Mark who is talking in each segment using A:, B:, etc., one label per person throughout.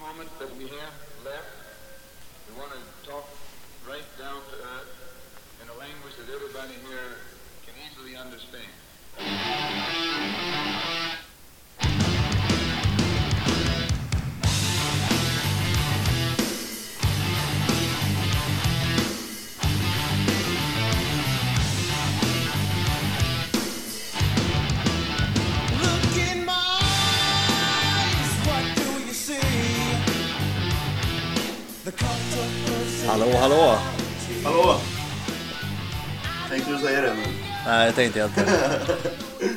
A: moment that we have left, we want to talk right down to earth in a language that everybody here can easily understand.
B: Look in my eyes, what do you see? The cult of
C: Hallå, hallå!
D: Hallå! Tänkte du säga det nu?
C: Nej, det tänkte jag inte.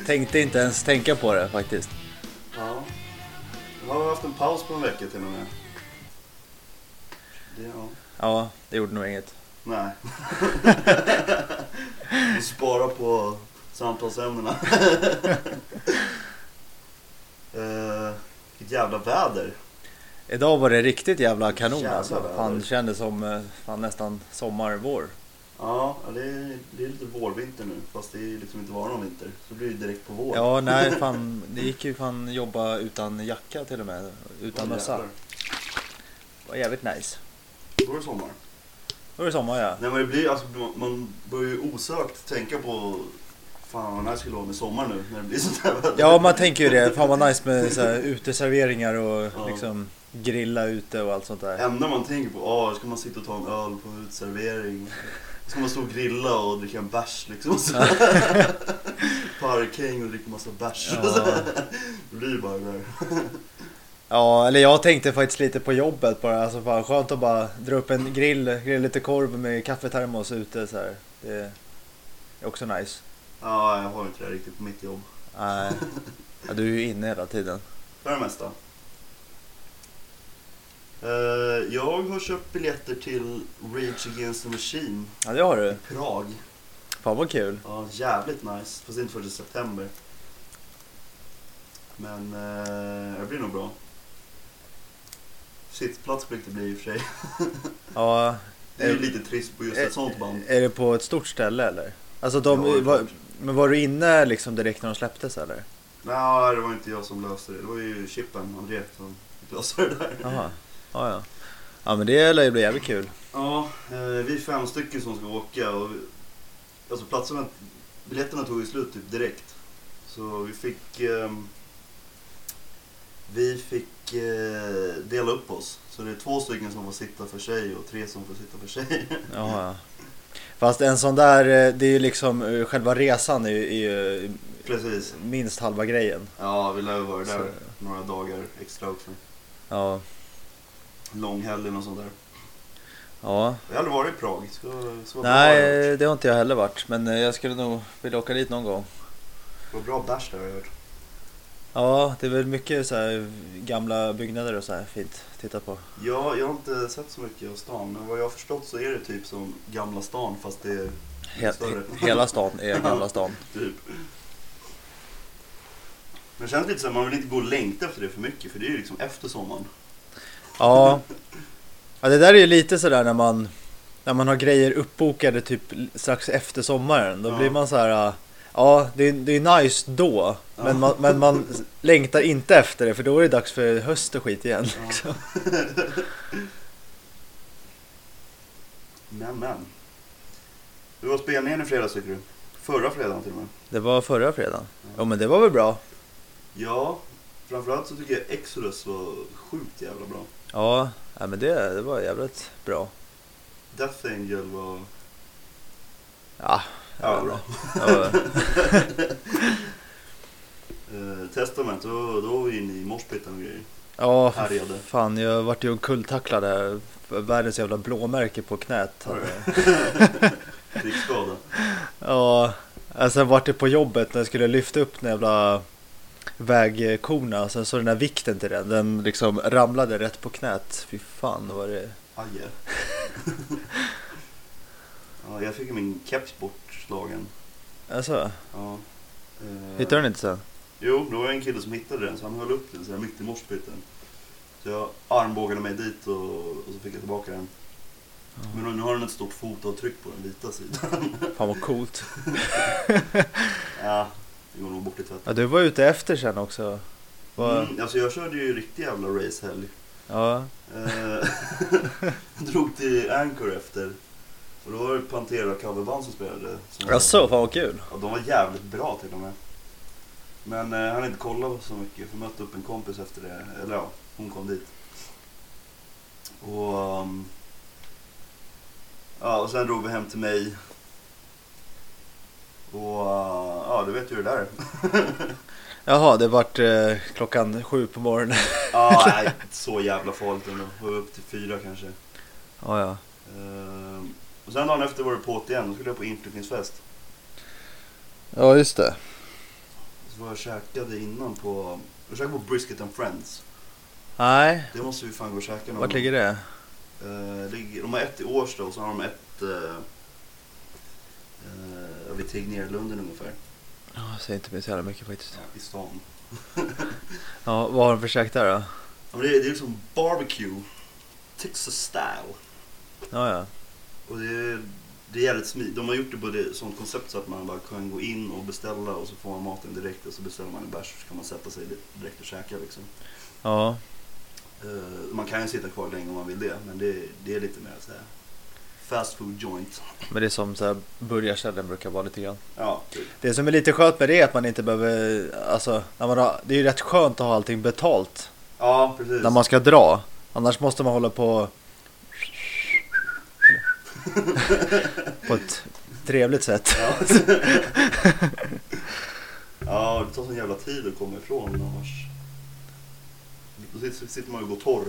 C: tänkte inte ens tänka på det faktiskt.
D: Ja. Jag har haft en paus på en vecka till och med. Det, ja.
C: Ja, det gjorde nog inget.
D: Nej. Vi sparar på samtalsämnena. Eh, Vilket jävla väder.
C: Idag var det riktigt jävla kanon
D: Jävlar,
C: alltså.
D: vad
C: Fan,
D: det
C: det kändes som eh, fan, nästan sommar, vår.
D: Ja, ja, det är, det är lite vårvinter nu. Fast det är liksom inte var någon vinter. Så blir det direkt på vår.
C: Ja, nej fan. Det gick ju fan jobba utan jacka till och med. Utan mössa.
D: Jävlar.
C: Det var jävligt nice.
D: Då är det sommar.
C: Då är det sommar ja.
D: Nej men det blir, alltså, man börjar ju osökt tänka på Fan vad nice det skulle vara med sommar nu när det blir sånt här väder.
C: Ja, man tänker ju det. Fan vad nice med så här, uteserveringar
D: Ja.
C: och liksom grilla ute och allt sånt
D: Det
C: där.
D: enda man tänker på, ah, ska man sitta och ta en öl på en uteservering? Ska man stå och grilla och dricka en bärs liksom? Så. Parkhäng och dricka massa bärs.
C: Ja.
D: Det blir ju bara det där.
C: Ja, eller jag tänkte faktiskt lite på jobbet bara. Alltså bara skönt att bara dra upp en grill, grilla lite korv med kaffetermos ute så här. Det är också nice.
D: Ja, jag har inte det riktigt på mitt jobb.
C: Nej. Ja, du är ju inne hela tiden.
D: För det mesta. Eh, jag har köpt biljetter till Rage Against the Machine
C: Ja, det har
D: i
C: du.
D: Prag.
C: Fan vad kul.
D: Ja, jävligt nice. Fast inte förrän i september. Men eh, det blir nog bra. Sittplats fick det bli i och för sig.
C: Ja,
D: Det är ju
C: Eh,
D: lite trist på just ett sånt band.
C: är det på ett stort ställe eller? Alltså de,
D: Ja, det är
C: var,
D: klart.
C: men var du inne liksom direkt när de släpptes eller?
D: Nej, det var inte jag som löste det. Det var ju Chippen, André, som fick lösa det där.
C: Jaha. Ja, ja. Ja, men det lär ju bli jävligt kul.
D: Ja, eh, vi är fem stycken som ska åka och vi- alltså platserna, biljetterna tog ju slut typ direkt. Så vi fick ehm, vi fick eh, dela upp oss. Så det är två stycken som får sitta för sig och tre som får sitta för sig.
C: Ja, ja. Fast en sån där, eh, det är ju liksom eh, själva resan är ju, är ju
D: Precis.
C: minst halva grejen.
D: Ja, vi lär ju vara där
C: Så-
D: några dagar extra också.
C: Ja,
D: Långhelgen och sånt där.
C: ja.
D: Jag har aldrig varit i Prag. Så, så
C: Nej, eh, det har inte jag heller varit. Men eh, jag skulle nog vilja åka dit någon gång.
D: Vad bra bärs där har jag hört.
C: Ja, det är väl mycket så här gamla byggnader och så här fint att titta på.
D: Ja, jag har inte sett så mycket av stan, men vad jag har förstått så är det typ som Gamla stan fast det är
C: He
D: Större.
C: he- hela stan är gamla stan.
D: Typ. Men det känns lite så här, man vill inte gå och längta efter det för mycket för det är ju liksom efter sommaren.
C: Ja. ja, det där är ju lite sådär när man, när man har grejer uppbokade typ strax efter sommaren. Då
D: Ja.
C: blir man så här. äh, Ja, det är, det är nice då. Men man, men man längtar inte efter det för då är det dags för höst och skit igen. Liksom.
D: Men men. Du var spelningen i fredags tycker du? Förra fredagen till och med.
C: Det var förra fredagen. Ja, men det var väl bra.
D: Ja, framförallt så tycker jag Exodus var sjukt jävla bra.
C: Ja, ja men det, det var jävligt bra.
D: Death Angel var...
C: Ja,
D: Ja, bra.
C: ja,
D: Eh, Testament, då, då var vi inne i morspiten och grejer.
C: ja
D: Härjade.
C: fan jag vart ju omkulltacklad här. Världens jävla blåmärke på knät. hade jag.
D: Krigsskada.
C: Ja, och sen vart det på jobbet när jag skulle lyfta upp den jävla vägkorna. Sen så den där vikten till den, den liksom ramlade rätt på knät. Fy fan var det...
D: Aj. ja, jag fick ju min keps bortslagen.
C: Alltså,
D: Ja. Eh,
C: hittade du den inte sen?
D: Jo, det var en kille som hittade den så han höll upp den så här mitt i morspiten. Så jag armbågade mig dit och, och så fick jag tillbaka den. Men nu har den ett stort fotavtryck på den vita sidan.
C: Fan vad coolt.
D: ja, det går nog bort i Mm, tvätten.
C: Ja, du var ute efter sen också. Var...
D: Mm, alltså jag körde ju riktig jävla racehelg.
C: Ja.
D: Eh, drog till Anchor efter. Och då var det Pantera coverband som spelade. Som
C: Jaså, fan vad kul.
D: ja, de var jävligt bra till och med. Men eh, han inte kolla så mycket för jag mötte upp en kompis efter det. Eller ja, hon kom dit. Och, ehm, ja, och sen drog vi hem till mig. Och eh, ja, du vet ju hur det där är.
C: Jaha, det vart eh, klockan sju på morgonen.
D: Ja, nej, så jävla farligt ändå. Vi var upp till fyra kanske.
C: ja, ja.
D: Ehm, och sen dagen efter var det på't igen. Då skulle jag på inflyttningsfest.
C: Ja, just det.
D: Så var jag käkade innan på... Jag käkade på Brisket and Friends.
C: Nej,
D: Det måste vi fan gå och käka någon
C: vart ligger det?
D: Eh, ligger- De har ett i Årsta och så har de ett eh, eh, vid Tegnérlunden ungefär.
C: Ja, Jag säger inte mig så jävla mycket faktiskt.
D: I stan.
C: Ja, vad har de för käk där då?
D: Ja, men det, är, det är liksom barbecue. Texas style.
C: Ja, ja.
D: Och det är, det är jävligt smidigt. De har gjort det på ett sånt koncept så att man bara kan gå in och beställa och så får man maten direkt och så beställer man en bärs så kan man sätta sig direkt och käka liksom.
C: Ja,
D: Eh, man kan ju sitta kvar länge om man vill det men det, det är lite mer så här fast food joint.
C: men det är som så här burgarställen brukar vara lite grann.
D: Ja, typ.
C: Det som är lite skönt med det är att man inte behöver, alltså, när man har, det är ju rätt skönt att ha allting betalt
D: ja precis.
C: när man ska dra. Annars måste man hålla på på ett trevligt sätt.
D: Ja. ja, det tar sån jävla tid att komma ifrån annars. Då sitter- sitter man ju och går torr.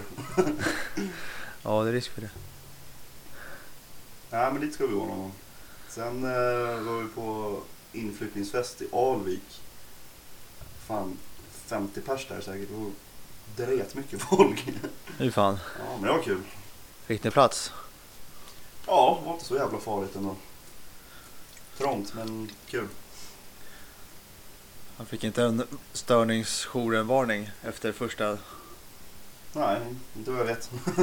C: Ja, det är risk för det.
D: Nej, men dit ska vi gå någon gång. Sen eh, var vi på inflyttningsfest i Alvik. Fan, 50 pers där säkert. Och det ret mycket folk.
C: Nu fan,
D: ja, men det var kul.
C: fick ni plats?
D: Ja, det var inte så jävla farligt ändå. Trångt, men kul.
C: Han fick inte en störningsjouren-varning efter första...
D: Nej, inte vad jag vet.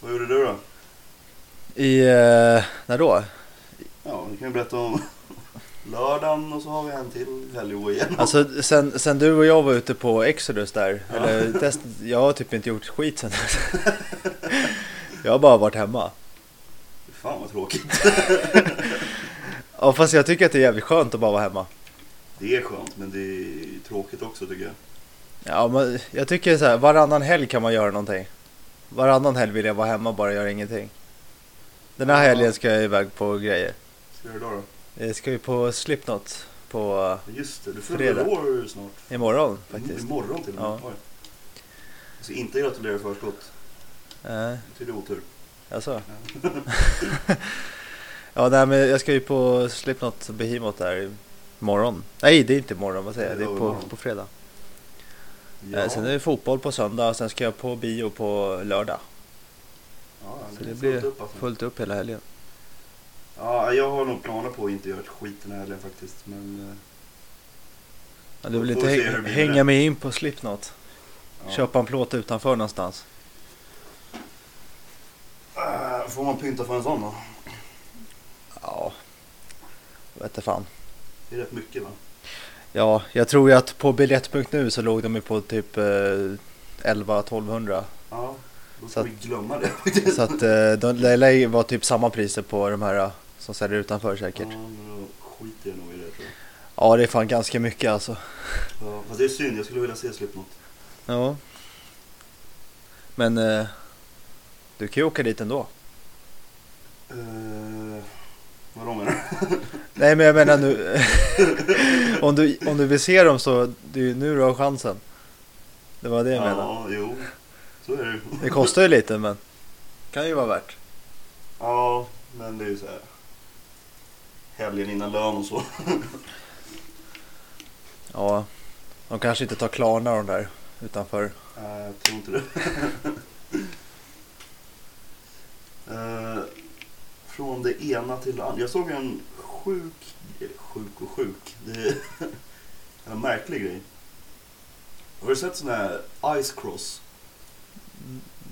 D: vad gjorde du då?
C: I... Eh, när då?
D: Ja, vi kan ju berätta om lördagen och så har vi en till helg att gå igenom.
C: Alltså sen, sen du och jag var ute på Exodus där,
D: Ja.
C: eller test, jag har typ inte gjort skit sen dess. Jag har bara varit hemma.
D: Fan vad tråkigt.
C: Ja fast jag tycker att det är jävligt skönt att bara vara hemma.
D: Det är skönt, men det är tråkigt också tycker jag.
C: Ja men jag tycker så här, varannan helg kan man göra någonting. Varannan helg vill jag vara hemma och bara göra ingenting. Den här
D: Ja.
C: helgen ska jag iväg på grejer.
D: Ska du då då?
C: Jag ska ju på Slipknot på
D: Ja, Just det, du
C: Fredag.
D: fyller år snart.
C: imorgon
D: Faktiskt.
C: faktiskt.
D: Imorgon till och med.
C: Ja.
D: Oj. Så inte gratulera i förskott.
C: Eh,
D: Det är otur.
C: Alltså. ja, nej, men jag ska ju på Slipknot Behemoth där imorgon. Nej, det är inte imorgon, vad säger jag? Det är på, på fredag.
D: Ja,
C: Eh, sen är det fotboll på söndag och sen ska jag på bio på lördag.
D: ja,
C: Så det
D: är
C: blir
D: fullt upp, alltså.
C: fullt upp hela helgen.
D: Ja, jag har nog planer på att inte göra ett skit den här helgen faktiskt. Men, eh,
C: Ja, du vill
D: Får
C: inte
D: se
C: häng-
D: hur det blir
C: hänga
D: där.
C: med in på Slipknot?
D: ja.
C: Köpa en plåt utanför någonstans?
D: Ah, Får man pynta för en sån då?
C: Ja, vete fan.
D: Det är rätt mycket va?
C: Ja, jag tror ju att på biljett.nu så låg de ju på typ eh, 11-1200
D: Ja, då
C: Så
D: ska
C: att-
D: vi glömma det faktiskt.
C: Så att eh, de det lär ju vara typ samma priser på de här eh, som säljer utanför säkert.
D: Ja, men då skiter jag nog i det tror jag.
C: Ja, det är fan ganska mycket alltså.
D: Ja, fast det är synd, jag skulle vilja se Slipknot.
C: Ja. Men eh, du kan ju åka dit ändå.
D: Uh, vadå menar du?
C: Nej, men jag menar nu. om, du, om du vill se dem så det är ju nu du har chansen. Det var det jag menade.
D: Ja, jo. Så är det ju.
C: Det kostar ju lite, men kan ju vara värt.
D: Ja, men det är ju så här. Helgen innan lön och så.
C: Ja, de kanske inte tar Klarna de där utanför.
D: Nej, jag tror inte det. Eh, från det ena till det andra. Jag såg en sjuk, eller sjuk och sjuk, det är en märklig grej. Har du sett sådana här ice cross?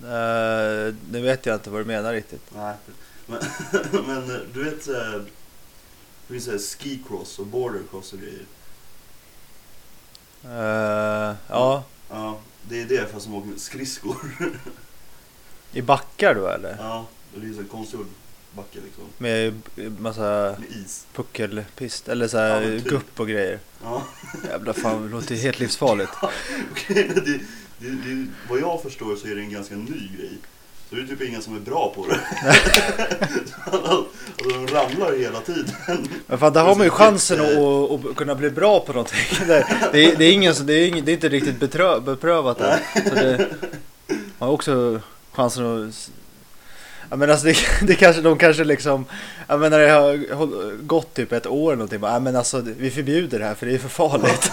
C: Eh, nu vet jag inte vad du menar riktigt.
D: Nej. Men, men eh, du vet, eh, det finns så här ski cross och border cross och grejer.
C: Eh, ja,
D: Ja, det är är det fast som åker med skridskor.
C: I backar då eller?
D: ja, och det är så här konstgjord backe liksom.
C: Med massa
D: Med is.
C: puckelpist eller så här
D: Ja, men typ.
C: gupp och grejer.
D: Ja,
C: Jävla fan, det låter ju helt livsfarligt.
D: okej. men det, det, det, vad jag förstår så är det en ganska ny grej. Så det är typ ingen som är bra på det. alltså, de ramlar hela tiden.
C: Men fan, där har man ju chansen att, att, att kunna bli bra på någonting. Det är, det är, ingen, som- det är, ingen, det är inte riktigt betrö, beprövat än. Så det, man har också chansen att... Jag menar, alltså det, det kanske, de kanske liksom... Jag menar, det har håll- gått typ ett år eller någonting. Bara, "Nej, men alltså, vi förbjuder det här för det är för farligt.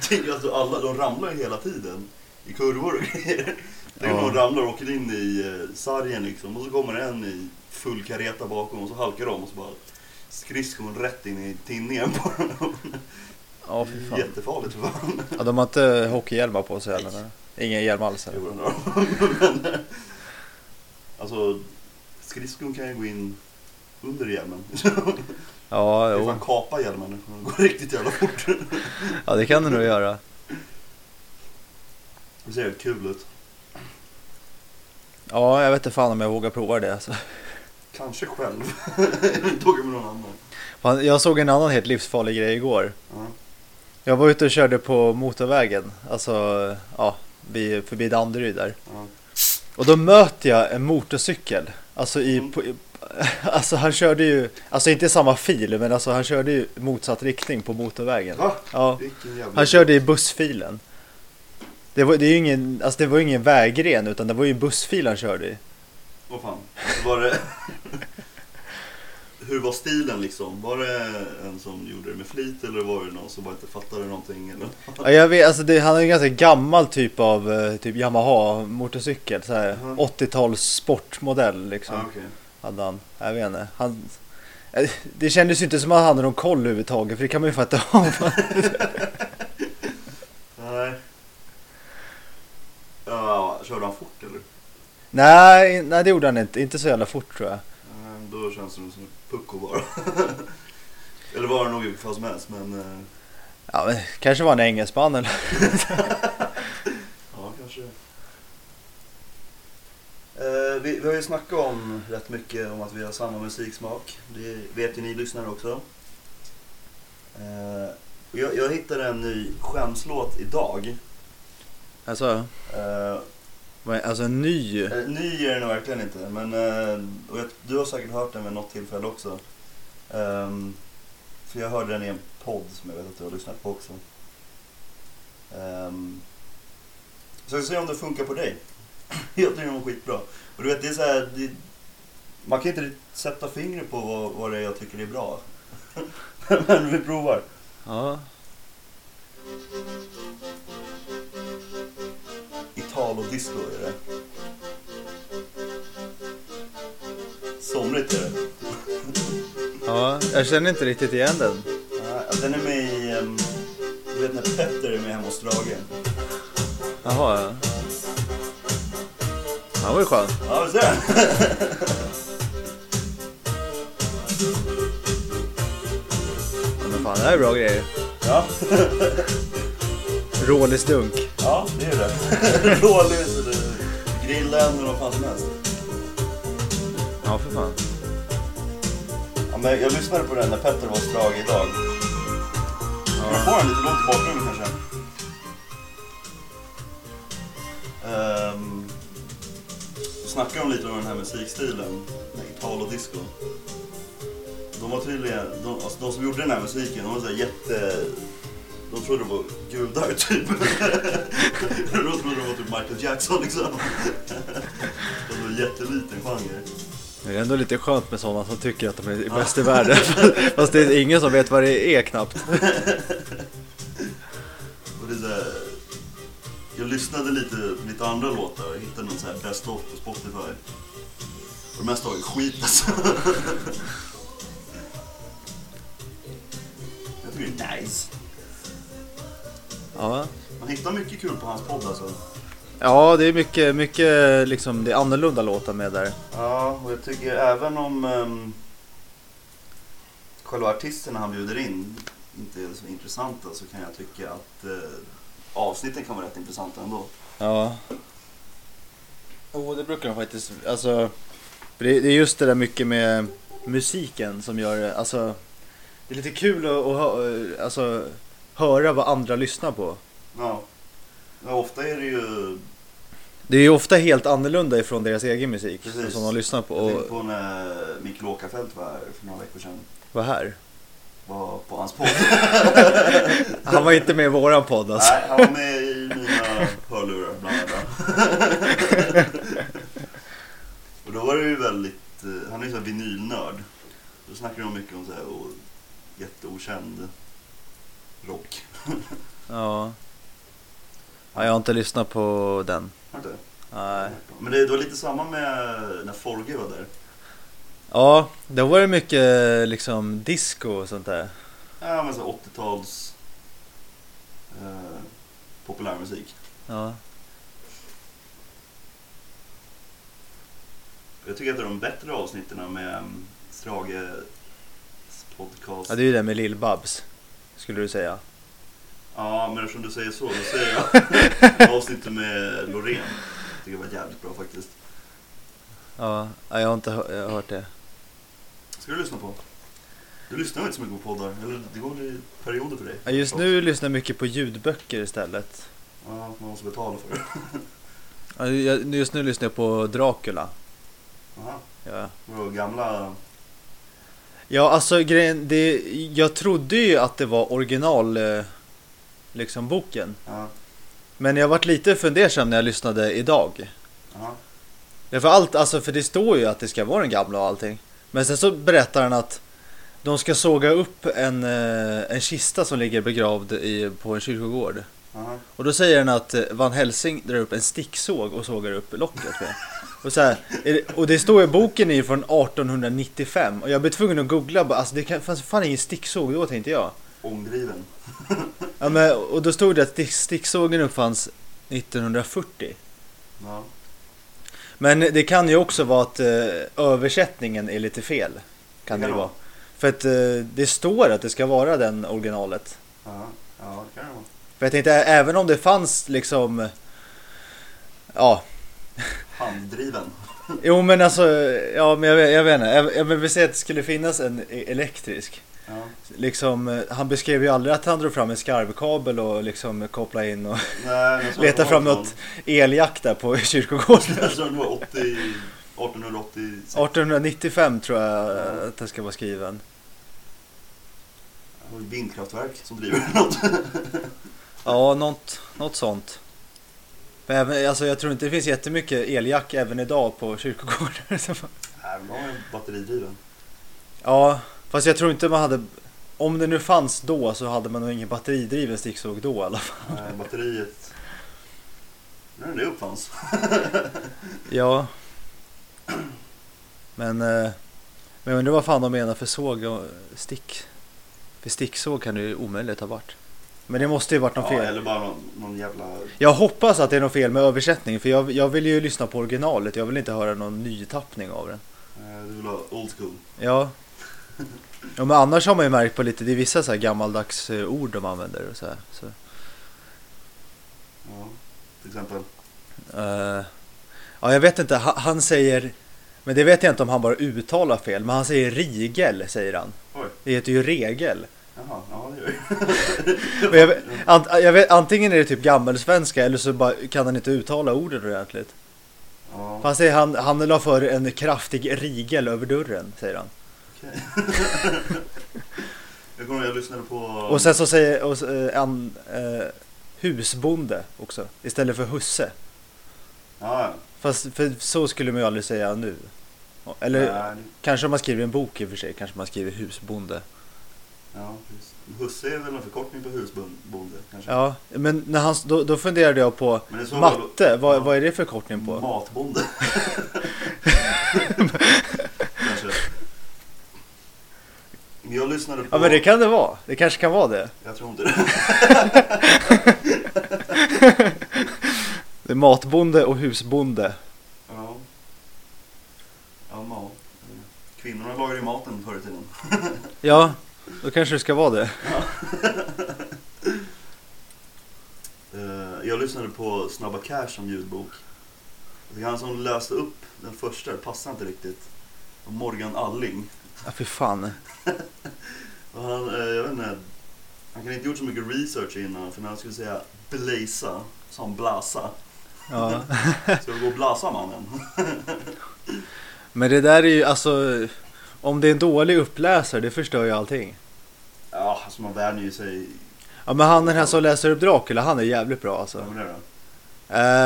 D: Tänk, alltså, alla, de ramlar ju hela tiden i kurvor och grejer. Tänk om
C: Ja.
D: de ramlar och åker in i eh, sargen liksom och så kommer en i full kareta bakom och så halkar de och så bara skridskon rätt in i tinningen på dem.
C: Ja, fy fan.
D: Jättefarligt för fan.
C: Ja, de har inte hockeyhjälmar på sig eller? Ingen hjälm alls eller?
D: Jo, den har de. Men, eh, Alltså skridskon kan ju gå in under hjälmen.
C: Ja,
D: Det är
C: jo.
D: fan kapa hjälmen, den går riktigt jävla fort.
C: Ja, det kan du nog göra.
D: Det ser jävligt kul ut.
C: Ja, jag vet inte fan om jag vågar prova det alltså.
D: Kanske själv, inte åka med någon annan.
C: Fan, Jag såg en annan helt livsfarlig grej igår.
D: Ja.
C: Jag var ute och körde på motorvägen, alltså ja, vid- förbi Danderyd där.
D: Ja.
C: Och då möter jag en motorcykel. Alltså, i,
D: Mm.
C: på, i, alltså han körde ju, alltså inte i samma fil, men alltså han körde ju motsatt riktning på motorvägen.
D: Va?
C: Ja,
D: Vilken jävla...
C: han körde i bussfilen. Det var, det, är ju ingen, alltså det var ju ingen vägren utan det var ju en bussfil han körde i.
D: Vad fan, var det... Hur var stilen liksom? Var det en som gjorde det med flit eller var det någon som bara inte fattade någonting? Eller?
C: Ja, jag vet, alltså det, han har ju en ganska gammal typ av eh, typ Yamaha motorcykel. Så här,
D: Mhm.
C: 80-tals sportmodell liksom.
D: Ah, okej.
C: Hade han. Jag vet inte. Han, eh, det kändes ju inte som att han hade någon koll överhuvudtaget för det kan man ju fatta av.
D: Nej. Ja, körde han fort eller?
C: nej, nej, det gjorde han inte. Inte så jävla fort tror jag.
D: Ehm, Då känns det nog som ett pucko bara. eller var det nog i vilket fall som helst men... eh,
C: Ja, men, kanske var han engelsman eller?
D: Ja, kanske. Eh, vi, vi har ju snackat om rätt mycket om att vi har samma musiksmak. Det vet ju ni lyssnare också. Eh, och jag, jag hittade en ny skämslåt idag.
C: Alltså,
D: Eh,
C: vad är- alltså en ny.
D: eh, ny är den verkligen inte, men eh, och jag, du har säkert hört den vid något tillfälle också. Ehm, för jag hörde den i en podd som jag vet att du har lyssnat på också. Ehm, så vi får se om det funkar på dig. jag tycker den var skitbra. Och du vet, det är så här, det, man kan inte riktigt sätta fingret på vad, vad det är jag tycker är bra. men vi provar.
C: Ja.
D: Italo-disco är det. Somrigt är det.
C: ja, jag känner inte riktigt igen den.
D: Ja, den är med i... ehm, Du vet när Petter är med hemma hos Drage?
C: Jaha, ja. Han var ju skön.
D: Ja, visst är den?
C: Ja, men fan, det här är bra grejer.
D: Ja,
C: Rålis dunk.
D: ja det är det. Rålis eller eh, grillen eller vad fan som helst.
C: Ja, för fan.
D: Ja, men jag lyssnade på den när Petter var hos Drage idag. Ska du få den lite långt i bakgrunden kanske? Um, snackar de lite om den här musikstilen, med Italo-disco. De var tydligen, de, alltså de som gjorde den här musiken, de var så här jätte... De trodde det var gudar typ. de trodde det var typ Michael Jackson liksom. det var en jätteliten genre.
C: Det är ändå lite skönt med sådana som tycker att de är bäst i världen. Fast det är ingen som vet vad det är knappt.
D: Och det är så här, jag lyssnade lite på lite andra låtar och hittade någon så här best of på Spotify. Och det mesta var ju skit alltså. Jag tycker det är nice.
C: Ja,
D: Man hittar mycket kul på hans podd alltså.
C: ja det är mycket, mycket liksom, det är annorlunda låtar med där.
D: Ja, och jag tycker även om um, själva artisterna han bjuder in inte är så intressanta så kan jag tycka att eh, avsnitten kan vara rätt intressanta ändå.
C: Ja. Jo, det brukar de faktiskt. Alltså, för det, det är just det där mycket med musiken som gör det. Alltså, det är lite kul att, att hö, alltså, höra vad andra lyssnar på.
D: Ja. ja, ofta är det ju...
C: Det är ju ofta helt annorlunda ifrån deras egen musik
D: Precis.
C: som de lyssnar på.
D: Jag tänkte
C: Och
D: på när Mikael Åkerfeldt var här för några veckor sedan.
C: vad här?
D: Var på hans podd.
C: Han var inte med i våran podd alltså.
D: Nej, han var med i mina hörlurar bland annat. och då var det ju väldigt, eh, han är ju sån här vinylnörd. Då snackade de mycket om så här, och jätteokänd rock.
C: Ja. ja. Jag har inte lyssnat på den.
D: Har du inte?
C: Nej.
D: Men det, det var lite samma med när Forge var där.
C: Ja, då var det mycket liksom disco och sånt där.
D: Ja, men så här 80-tals eh, populärmusik.
C: Ja.
D: Jag tycker att det är de bättre avsnitten med mm, Strages podcast.
C: Ja, det är ju det med Lill-Babs, skulle du säga.
D: Ja, men eftersom du säger så, då säger jag avsnittet med Loreen. Jag tycker det var jävligt bra faktiskt.
C: Ja, ja, jag har inte hö- jag har hört det.
D: Ska du lyssna på? Du lyssnar väl inte så mycket på poddar? Eller det går i perioder för dig?
C: Ja, just nu lyssnar jag mycket på ljudböcker istället.
D: Ja, man måste betala för det.
C: Ja, jag- Just nu lyssnar jag på Dracula.
D: Aha.
C: Ja,
D: Vadå, gamla...
C: ja alltså grejen, det, jag trodde ju att det var original, eh, liksom boken.
D: Ja,
C: Men jag varit lite fundersam när jag lyssnade idag.
D: aha.
C: Därför allt, alltså för det står ju att det ska vara den gamla och allting. Men sen så berättar han att de ska såga upp en, eh, en kista som ligger begravd i, på en kyrkogård.
D: aha.
C: Och då säger den att eh, Van Helsing drar upp en sticksåg och sågar upp locket med. Och, så här, är det- och det står i boken är ju från 1895 och jag blev tvungen att googla bara, alltså det kan- fanns fan ingen sticksåg då tänkte jag.
D: Ångdriven.
C: Ja, men, och då stod det att stick- sticksågen uppfanns 1940.
D: Ja.
C: Men det kan ju också vara att eh, översättningen är lite fel. Kan det,
D: Det
C: ju
D: kan det
C: vara. För att eh, det står att det ska vara den originalet.
D: Ja, ja det kan det vara.
C: För jag tänkte ä- även om det fanns liksom Ja,
D: Handdriven.
C: jo men alltså, ja men jag, vet- jag vet inte. Jag, jag, men vi säger att det skulle finnas en e- elektrisk.
D: Ja.
C: Liksom, eh, han beskrev ju aldrig att han drog fram en skarvkabel och liksom kopplade in och
D: Nej, men så-
C: letade fram något eljack där på kyrkogården.
D: Jag tror Alltså, det var 80... 1886.
C: 1895 tror jag eh, att den ska vara skriven.
D: Det var ett Vindkraftverk som driver något.
C: Ja, något, något sånt. Men även, alltså, jag tror inte det finns jättemycket eljack även idag på kyrkogårdar. Så-
D: Nej, men de har ju batteridriven.
C: ja, fast jag tror inte man hade... Om det nu fanns då så hade man nog ingen batteridriven sticksåg då i alla fall.
D: Nej, Eh, batteriet. När det uppfanns.
C: Ja. Men, eh, men jag undrar vad fan de menar för såg och stick. För sticksåg kan det ju omöjligt ha varit. Men det måste ju varit något
D: Ja,
C: fel.
D: eller bara någon, någon jävla... eh,
C: Jag hoppas att det är något fel med översättningen för jag, jag vill ju lyssna på originalet. Jag vill inte höra någon nytappning av den.
D: eh, Du vill ha old school.
C: Ja. ja men annars har man ju märkt på lite, det är vissa så här gammaldags eh, ord de använder och så här. Så,
D: Ja, till exempel.
C: eh, ja jag vet inte, ha- han säger, men det vet jag inte om han bara uttalar fel, men han säger rigel säger han.
D: Oj,
C: Det heter ju regel.
D: jaha, ja det gör det.
C: Men jag, vet- ant, jag vet, antingen är det typ gammelsvenska eller så bara, kan han inte uttala orden ordentligt.
D: Ja,
C: Han säger han, han la för en kraftig rigel över dörren, säger han.
D: okej. Jag kommer ihåg, jag lyssnade på...
C: Och sen så säger och, så, eh, en eh, husbonde också, istället för husse.
D: Ja,
C: Fast för så skulle man ju aldrig säga nu. Eller
D: ja. Nej,
C: kanske om man skriver en bok i och för sig, kanske man skriver husbonde.
D: ja precis. Husse är väl en förkortning på husbonde kanske?
C: Ja, men när han, då, då funderade jag på
D: Men det är så-
C: matte, vad,
D: Ja.
C: vad är det för kortning på?
D: Matbonde. kanske. Men Jag lyssnade på...
C: Ja men det kan det vara, det kanske kan vara det.
D: Jag tror inte det.
C: Det är matbonde och husbonde.
D: Ja. Ja, mat. Kvinnorna lagade ju maten förr i tiden.
C: Ja, då kanske det ska vara det.
D: Eh, lyssnade på Snabba Cash som ljudbok. Jag tycker han som läste upp den första passade inte riktigt. Och Morgan Alling.
C: Ja, fy fan.
D: Och han, eh, jag vet inte, han kan inte gjort så mycket research innan för när han skulle säga blaza, som blasa.
C: Ja.
D: Ska vi gå och blasa mannen?
C: Men det där är ju alltså... Om det är en dålig uppläsare, det förstör ju allting.
D: Ja, alltså man värjer ju sig.
C: Ja men han den här som läser upp Dracula, han är jävligt bra alltså.
D: Vad var det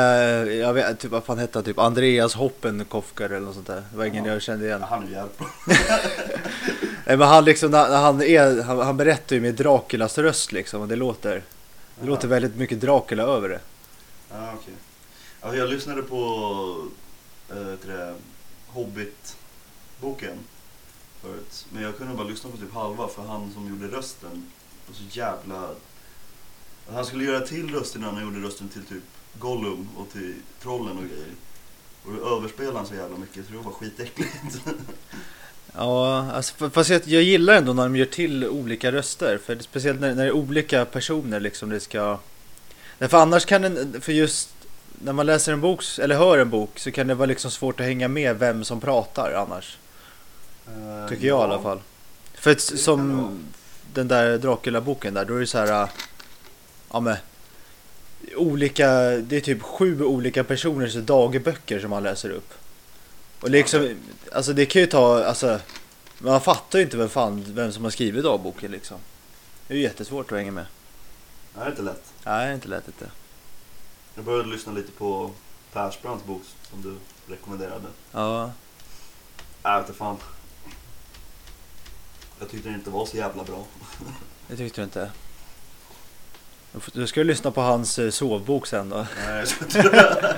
D: då?
C: Eh, jag vet typ vad fan hette han? Typ Andreas Hoppenkofker eller något sånt där. Det var ingen
D: Ja.
C: jag kände igen.
D: Ja, han är ju jävligt bra.
C: Nej men han liksom, när när han, är, han, han berättar ju med Draculas röst liksom och det låter, det
D: Ja.
C: låter väldigt mycket Dracula över det.
D: Ja, Ah, okej. Ja, jag lyssnade på eh, till det, Hobbit-boken förut. Men jag kunde bara lyssna på typ halva för han som gjorde rösten var så jävla... Han skulle göra till rösten när han gjorde rösten till typ Gollum och till trollen och grejer. Och då överspelade han så jävla mycket så det var bara skitäckligt.
C: Ja, alltså, f- fast jag, jag gillar ändå när de gör till olika röster. För det- speciellt när, när det är olika personer liksom det ska... Nej, för annars kan en, för just när man läser en bok, s- eller hör en bok, så kan det vara liksom svårt att hänga med vem som pratar annars.
D: Eh,
C: Tycker jag i
D: ja.
C: alla fall. För att,
D: Det
C: s-
D: kan det vara.
C: som den där Dracula-boken där, då är det så här... äh, Ja men... Olika, det är typ sju olika personers dagböcker som han läser upp. Och liksom, alltså det kan ju ta, alltså... Man fattar ju inte vem fan, vem som har skrivit dagboken liksom. Det är ju jättesvårt att hänga med.
D: Nej, det är inte lätt.
C: Nej, det är inte lätt inte.
D: Jag började lyssna lite på Persbrandts bok som du rekommenderade.
C: Ja.
D: Jag vet inte fan. Jag tyckte den inte var så jävla bra.
C: Det tyckte du inte? Du får- Du ska ju lyssna på hans eh, sovbok sen då.
D: Nej, jag tror inte det.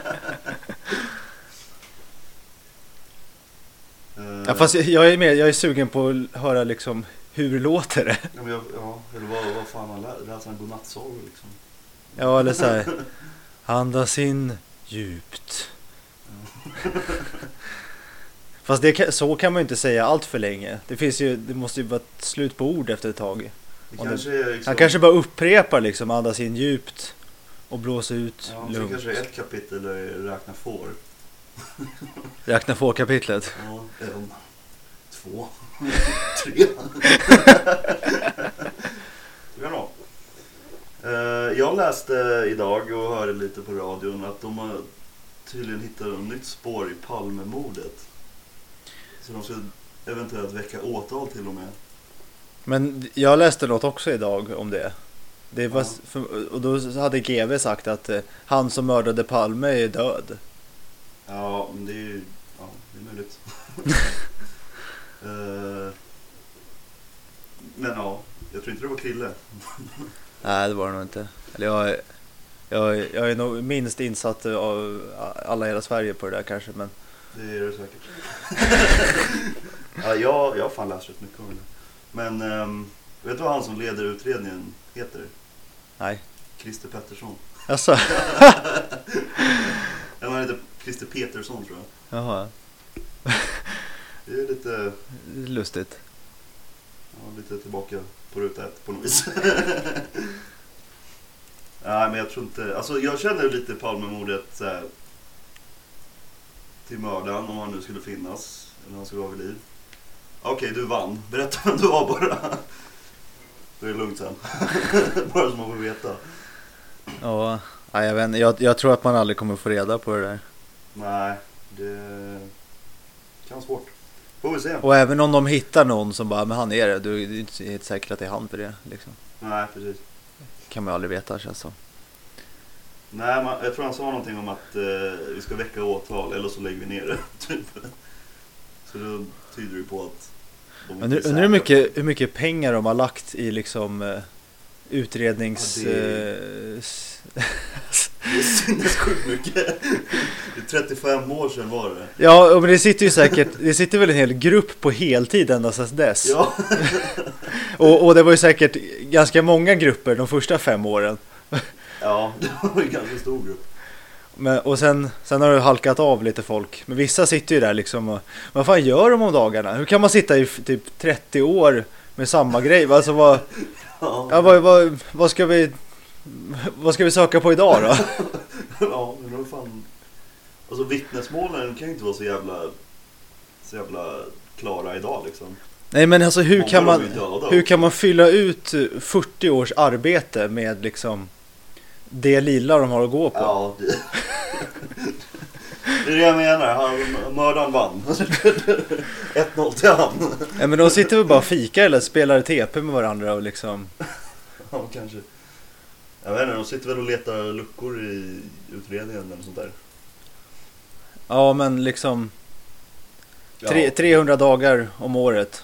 D: Eh,
C: Ja, fast jag- jag är med, jag är sugen på att höra liksom, hur låter det?
D: ja, men jag, ja, eller vad, vad fan han lä- läser han godnattsagor liksom?
C: Ja, eller så här. Andas in djupt. Fast det kan, så kan man ju inte säga allt för länge. Det, finns ju, det måste ju vara ett slut på ord efter ett tag.
D: Det
C: Och det-
D: kanske är liksom,
C: Han kanske bara upprepar liksom andas in djupt och blås ut
D: ja, det
C: lugnt.
D: kanske är ett kapitel där det är räkna får.
C: Räkna få kapitlet.
D: Ja, en, Ehm, två, tre. Så kan det vara. Eh, Jag läste idag och hörde lite på radion att de har tydligen hittat ett nytt spår i Palmemordet. Så de ska eventuellt väcka åtal till och med.
C: Men jag läste något också idag om det. det var,
D: Ja.
C: för, och då hade GV sagt att eh, han som mördade Palme är död.
D: Ja, men det är ju ja, det är möjligt. Eh, men ja, jag tror inte det var Krille.
C: Nej, det var det nog inte. Eller jag, är- jag, är- jag är nog minst insatt av alla i hela Sverige på det där kanske. Men
D: Det är du säkert. ja, jag, jag har fan läst rätt mycket om det. där. Men ehm, vet du vad han som leder utredningen heter?
C: nej.
D: Christer Pettersson.
C: Alltså,
D: Eller han heter Christer Petersson tror jag.
C: jaha.
D: Det är lite,
C: Det är Lustigt.
D: ja, lite tillbaka på ruta ett på något vis. Nej men jag tror inte, alltså jag känner lite Palmemordet så här, till mördaren om han nu skulle finnas. Eller han skulle vara vid liv. Okej du vann, berätta vem du var bara. Då är det lugnt sen. bara så man får veta.
C: Ja, nej, jag, vet, inte. jag, jag tror att man aldrig kommer få reda på det där.
D: Nej, det kan vara svårt. Får vi se.
C: Och även om de hittar någon som bara, men han är det. Du, det är inte helt säkert att det är han för det. Liksom.
D: Nej precis.
C: Kan man ju aldrig veta känns som.
D: Nej, man, jag tror han sa någonting om att eh, vi ska väcka åtal eller så lägger vi ner det. Typ. Så då tyder det på att de inte
C: Undrar
D: är
C: undrar hur
D: säkra.
C: mycket, hur mycket pengar de har lagt i liksom eh, utrednings...
D: Ja, det-
C: eh, s-
D: Det är sinnessjukt mycket. Det är 35 år sedan var det.
C: Ja, men det sitter ju säkert, det sitter väl en hel grupp på heltid ända sedan dess.
D: Ja,
C: Och, och det var ju säkert ganska många grupper de första fem åren.
D: ja det var en ganska stor grupp.
C: Men, och sen, sen har det halkat av lite folk. Men vissa sitter ju där liksom och vad fan gör de om dagarna? Hur kan man sitta i f- typ 30 år med samma grej? Alltså vad,
D: Ja.
C: ja, vad, vad, vad ska vi vad ska vi söka på idag då?
D: ja, men vad fan. Alltså vittnesmålen kan ju inte vara så jävla, så jävla klara idag liksom.
C: Nej men alltså hur
D: Många
C: kan
D: av
C: man,
D: dem är döda
C: hur
D: också.
C: kan man fylla ut eh, 40 års arbete med liksom det lilla de har att gå på?
D: Ja, det... det är det jag menar. Han, mördaren vann. 1-0 till han.
C: Nej men de sitter väl bara och fikar eller spelar TP med varandra och liksom
D: Ja, kanske. Jag vet inte, de sitter väl och letar luckor i utredningen eller sånt där.
C: Ja men liksom
D: Ja.
C: tre, 300 dagar om året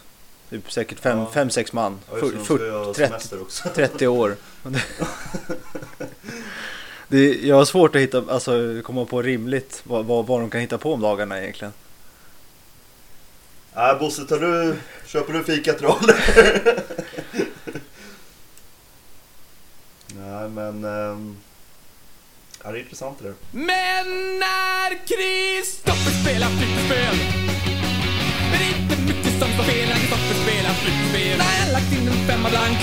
C: Typ säkert
D: Ja.
C: 5-6 man
D: Ja, just
C: Fyr-
D: det,
C: fyr-
D: de ska ju ha
C: 30.
D: semester också.
C: 30 år. Det, jag har svårt att hitta, alltså, komma på rimligt vad, vad, vad de kan hitta på om dagarna egentligen.
D: Nej, Bosse, tar du, köper du fika till Arne? Nej, men... ehm, ja, det är intressant det där.
B: Men när Kristoffer spelar flipperspel är det inte mycket som står fel när Kristoffer spelar flipperspel. När jag lagt in en femma blank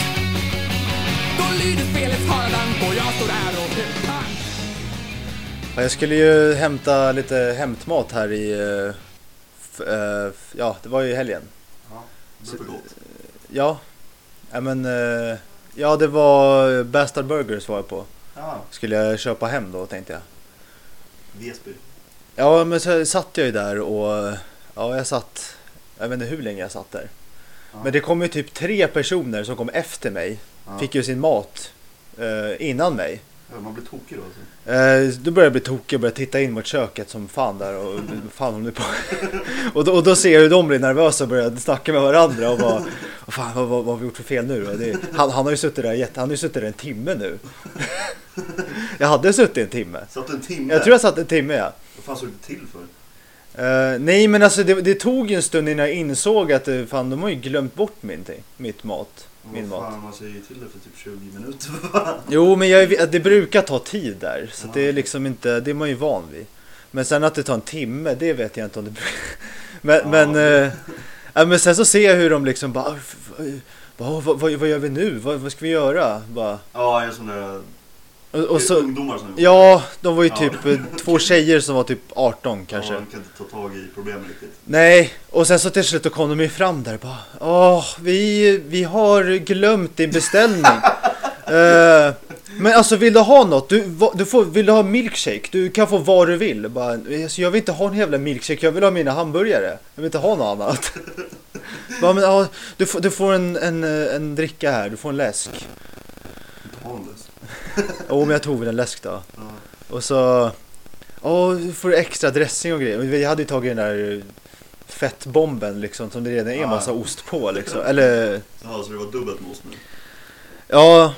B: då lyder spelets haradank och jag står där och pang.
C: Ja, Jag skulle ju hämta lite hämtmat här i... eh, f- eh, f- Ja, det var ju i helgen.
D: Supergott.
C: Ja, ja men... eh, Ja, det var Bastard Burgers var jag på.
D: Ja,
C: Skulle jag köpa hem då tänkte jag.
D: Vesby.
C: Ja, men så satt jag ju där och... Ja, jag satt... Jag vet inte hur länge jag satt där.
D: Ja.
C: Men det kom ju typ tre personer som kom efter mig.
D: Ja.
C: Fick ju sin mat eh, innan mig.
D: Ja, Man blir tokig då alltså.
C: Eh, då började jag bli tokig och började titta in mot köket som fan där och fan om det på. och, då, och då ser jag hur de blir nervösa och börjar snacka med varandra och bara "Vad fan vad, vad, vad har vi gjort för fel nu då? Det, han, han har ju suttit där, jätte- han har ju suttit där en timme nu. jag hade suttit en timme.
D: Satt en timme.
C: Jag tror jag satt en timme ja.
D: Vad fan såg du till för?
C: Eh, nej men alltså det, det tog ju en stund innan jag insåg att eh, fan de har ju glömt bort min, ting- mitt mat. Min
D: Vad
C: mat.
D: fan, man säger ju till det för typ 20 minuter. va?
C: Jo, men jag, är- det brukar ta tid där, så
D: Ja.
C: det är liksom inte, det är man ju van vid. Men sen att det tar en timme, det vet jag inte om det brukar- Men,
D: Ja.
C: men, eh, ja, men sen så ser jag hur de liksom bara, "F- f- vad, vad, vad, vad gör vi nu? Vad, vad ska vi göra? Bara,
D: ja, jag är sån där...
C: och, och så,
D: ungdomar som...
C: ja, de var ju
D: Ja.
C: typ eh, två tjejer som var typ 18 kanske.
D: Ja, de kan inte ta tag i problemet riktigt.
C: Nej, och sen så till slut då kom de ju fram där och bara Åh, vi, vi har glömt din beställning. Eh, men alltså vill du ha något? Du, va, du får, vill du ha milkshake? Du kan få vad du vill. Bara, alltså, jag vill inte ha en jävla milkshake, jag vill ha mina hamburgare. Jag vill inte ha något annat. bara, men, ja, du, får- du får en, en, eh, en dricka här, du får en läsk.
D: Inte hållas.
C: Jo, men jag tog väl en läsk då.
D: Ja.
C: Och så... Ja, du får extra dressing och grejer. Vi hade ju tagit den där fettbomben liksom som det redan är
D: Ja.
C: massa ost på liksom. Eller...
D: Ja, så det var dubbelt med oss nu.
C: Ja...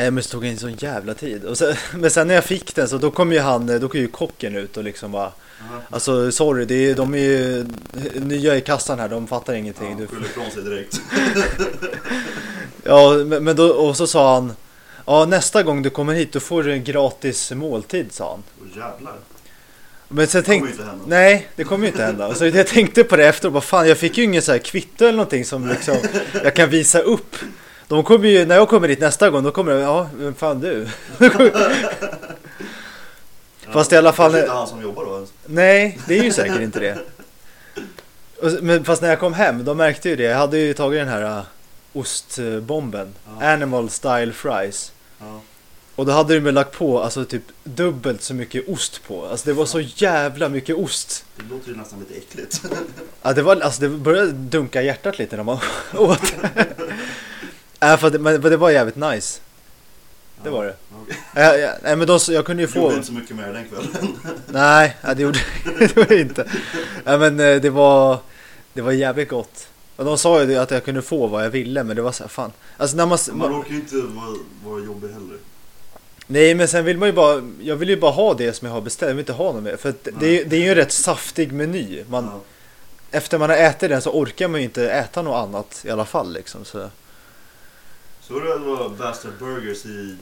C: Nej men det tog en sån jävla tid. Och sen, men sen när jag fick den så då kom ju han, då kom ju kocken ut och liksom bara
D: Ja.
C: Alltså sorry, det är, de är ju nya i kassan här, de fattar ingenting.
D: Ja,
C: Du
D: skyller ifrån sig direkt.
C: Ja, men men då, och så sa han Ja nästa gång du kommer hit då får du en gratis måltid sa han.
D: Åh jävlar.
C: Men sen
D: kommer
C: tänkte,
D: ju inte hända.
C: nej det kommer ju inte hända. Så jag tänkte på det efteråt, bara fan jag fick ju ingen så här kvitto eller någonting som liksom jag kan visa upp. De kommer ju, när jag kommer dit nästa gång, då kommer de, ja vem fan du? Fast i alla fall-
D: Det är inte han som jobbar då ens.
C: Nej, det är ju säkert inte det. Och s- Men fast när jag kom hem, då märkte ju det. Jag hade ju tagit den här äh, ostbomben,
D: Ja.
C: animal style fries.
D: Ja.
C: Och då hade de ju lagt på alltså typ dubbelt så mycket ost på. Alltså det var så jävla mycket ost.
D: Det låter ju nästan lite äckligt.
C: Ja, det, var, alltså, det började dunka i hjärtat lite när man åt. äh, för att det, men, men det var jävligt nice. Det var det.
D: Okej.
C: Äh, ja, nej, men de, jag kunde ju
D: Du gjorde
C: få...
D: inte så mycket mer den kvällen.
C: Nej, nej, det gjorde det gjorde jag inte. Nej, men eh, det var, det var jävligt gott. Och de sa ju det att jag kunde få vad jag ville, men det var så här, fan. Alltså när man... s-
D: Man orkar ju inte vara, vara jobbig heller.
C: Nej, men sen vill man ju bara... Jag vill ju bara ha det som jag har beställt, jag vill inte ha något mer. För att det, är- det är ju en rätt saftig meny. Man,
D: Ja.
C: Efter man har ätit den så orkar man ju inte äta något annat i alla fall liksom. Så.
D: Så var det var Bastard Burgers i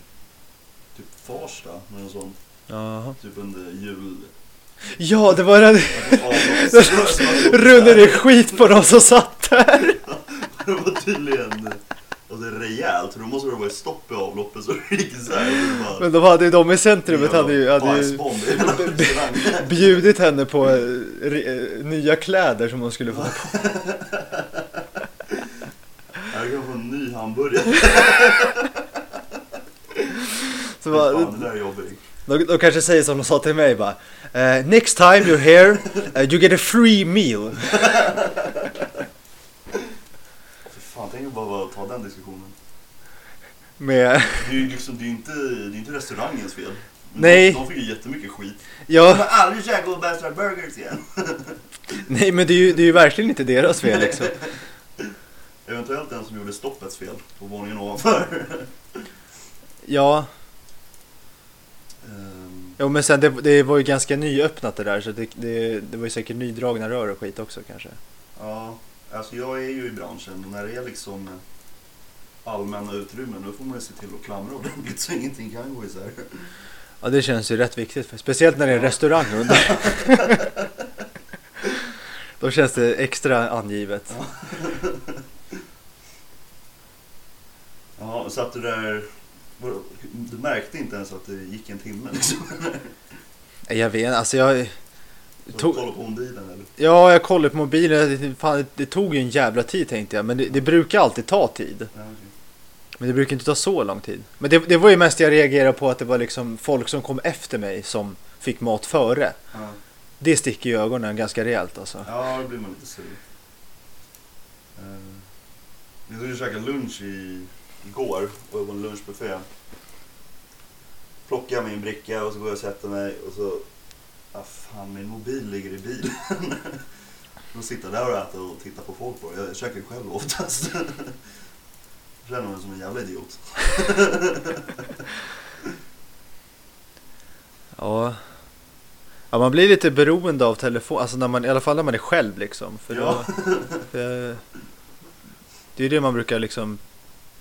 D: typ Farsta eller något sånt.
C: Jaha.
D: Typ under jul.
C: Ja, det var den
D: Avloppsrör-
C: rullade skit på de som satt där.
D: Det var tydligen... och det är rejält. För då måste det vara stopp i avloppet så det gick isär. och det bara-
C: Men de hade ju de i centrumet hade ju, hade ju
D: Bajsbomb i hela restaurangen.
C: bjudit henne på eh, re- eh, nya kläder som hon skulle få.
D: Jag kan få en ny hamburgare.
C: Så bara,
D: Fan, det där är jobbigt.
C: de, de kanske säger som de sa till mig bara. eh, next time you're here eh, you get a free meal.
D: Fy fan, tänk att bara bara ta den diskussionen.
C: Med,
D: Det är ju liksom, det är ju inte, det är inte restaurangens fel. Men
C: Nej.
D: De, de fick ju jättemycket skit. Jag
C: ja,
D: kommer aldrig käka Old Bastard Burgers igen.
C: nej men det är ju, det är ju verkligen inte deras fel liksom.
D: Eventuellt den som gjorde stoppets fel på våningen ovanför.
C: Ja,
D: Ehm,
C: jo, men sen det, det var ju ganska nyöppnat det där så det, det, det var ju säkert nydragna rör och skit också kanske.
D: Ja, alltså jag är ju i branschen och när det är liksom eh, allmänna utrymmen då får man ju se till att klamra ordentligt så ingenting kan gå isär.
C: Ja det känns ju rätt viktigt, för, speciellt när det är en restaurang under. Då känns det extra angivet.
D: Ja, satt du där... vadå, Du märkte inte ens att det gick en timme liksom?
C: Nej, Jag vet alltså jag...
D: Så
C: Tog-
D: kolla på ombilen eller?
C: Ja, jag kollade på mobilen, det- fan, det tog ju en jävla tid tänkte jag, men det, det brukar alltid ta tid.
D: Ja, okej.
C: Men det brukar inte ta så lång tid. Men det, det var ju mest jag reagerade på att det var liksom folk som kom efter mig som fick mat före.
D: Ja.
C: Det sticker ju i ögonen ganska rejält alltså.
D: Ja, då blir man lite sur. Eh, Jag skulle käka lunch i, igår och det var en lunchbuffé. Plockar jag min bricka och så går jag och sätter mig och så... Ah, fan, min mobil ligger i bilen. Då sitter jag där och äter och tittar på folk bara. Jag käkar ju själv oftast. Känner mig som en jävla idiot.
C: Ja. Ja, man blir lite beroende av telefon, alltså när man, i alla fall när man är själv liksom. För
D: Ja.
C: då, det, det är ju det man brukar liksom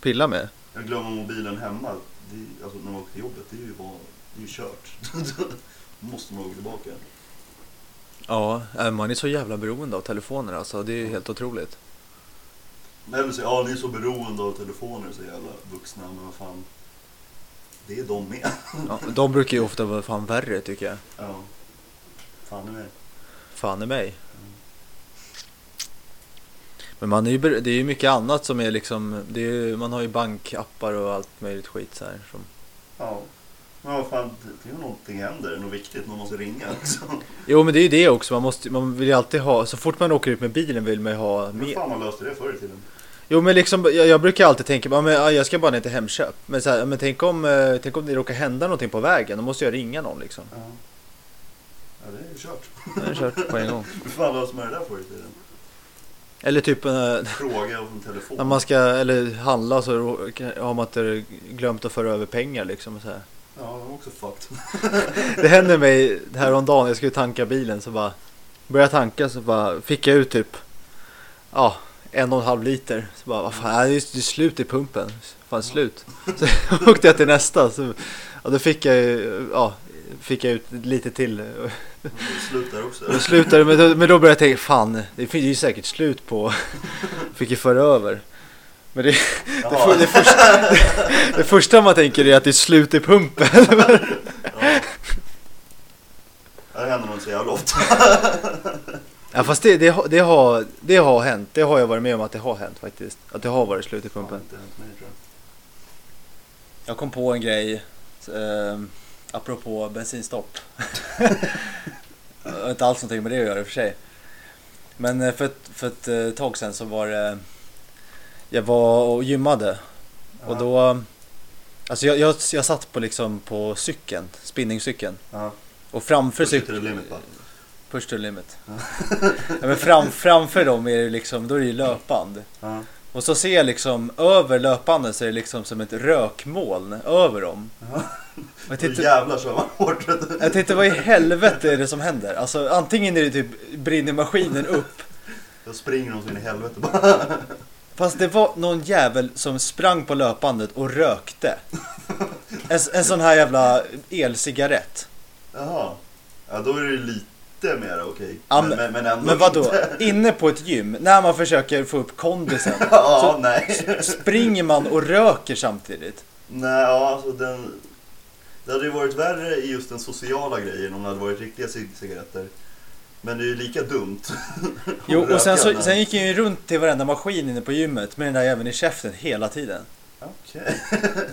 C: pilla med.
D: Jag glömmer mobilen hemma. Det, är- alltså när man åker till jobbet, det är ju, bara, det är ju kört. Då måste man åka tillbaka.
C: Ja, äh, man är så jävla beroende av telefoner alltså, det är ju helt otroligt.
D: Nej, men så, ja, ni är så beroende av telefoner så jävla vuxna, men vad fan. Det är de med.
C: Ja, de brukar ju ofta vara fan värre tycker jag.
D: Ja. Fan är med.
C: Fan i mig. Men man är ju, ber- det är ju mycket annat som är liksom, det är, ju- man har ju bankappar och allt möjligt skit så här. Som,
D: Ja. Men vad fan, det är ju någonting händer, något viktigt, någon måste ringa liksom.
C: jo men det är ju det också, man, måste, man vill ju alltid ha, så fort man åker ut med bilen vill man ju ha
D: Hur
C: mer.
D: fan man löste det förr i tiden?
C: Jo men liksom, jag, jag brukar alltid tänka, ja, men, ja, jag ska bara ner till Hemköp. Men, så här, men tänk, om, eh, tänk om det råkar hända någonting på vägen, då måste jag ringa någon liksom.
D: Ja. Ja, det är ju kört.
C: Då är det kört på en gång.
D: Hur fan löste man det där förr i tiden?
C: Eller typ eh,
D: Fråga och en telefon.
C: när man ska eller handla så rå- har man inte glömt att föra över pengar liksom. och Så här.
D: Ja, de var också fucked.
C: Det hände mig häromdagen, jag skulle tanka bilen så bara började jag tanka så bara fick jag ut typ ja, en och en halv liter. Så bara, vad fan, nej, det är det är slut i pumpen. Fan slut. Så åkte jag till nästa. Så, ja, då fick jag, ju, ja, fick jag ut lite till.
D: Slut där också.
C: Då slutade det, men då, men då började jag tänka, fan det finns ju säkert slut på. Fick ju föra över. Men det, det, för-
D: Jaha,
C: det, första, det, det första man tänker är att det är slut i pumpen.
D: ja. Ja, Det händer nog inte så jävla ofta.
C: Ja fast det, det, har- det, har, det har hänt. Det har jag varit med om att det har hänt faktiskt. Att det har varit slut i
D: Fan, det har
C: pumpen.
D: inte hänt mig, tror jag.
C: Jag kom på en grej eh, apropå bensinstopp. Det har inte alls någonting med det att göra i och för sig. Men eh, för ett, för ett eh, tag sedan så var det... Jag var och gymmade. Och
D: Ja.
C: då... Alltså jag, jag, jag satt på liksom på cykeln, spinningcykeln.
D: Ja.
C: Och framför
D: Push it to the
C: cykeln...
D: limit, va?
C: Push to the limit. ja, men fram, framför dem är det liksom, då är det ju löpband.
D: Ja.
C: Och så ser jag liksom över löpbanden så är det liksom som ett rökmoln över dem.
D: Ja.
C: Och jag
D: Då
C: tittar,
D: jävlar kör man hårt. vet du.
C: jag tittar vad i helvete är det som händer? Alltså antingen är det typ brinner maskinen upp.
D: Då springer de så in i helvete bara.
C: Fast det var någon jävel som sprang på löpbandet och rökte. En, en sån här jävla elcigarett.
D: Jaha. Ja, då är det lite lite mer okej.
C: Ja,
D: men, men, men ändå
C: Men vadå?
D: inte.
C: Inne på ett gym, när man försöker få upp kondisen,
D: ja,
C: så
D: nej.
C: springer man och röker samtidigt.
D: nej, ja, alltså den... Det hade ju varit värre i just den sociala grejen om det hade varit riktiga cig- cigaretter. Men det är ju lika dumt.
C: Jo, och sen, så,
D: Röka,
C: sen
D: men-
C: gick jag ju runt till varenda maskin inne på gymmet med den där jäveln i käften hela tiden.
D: Okej.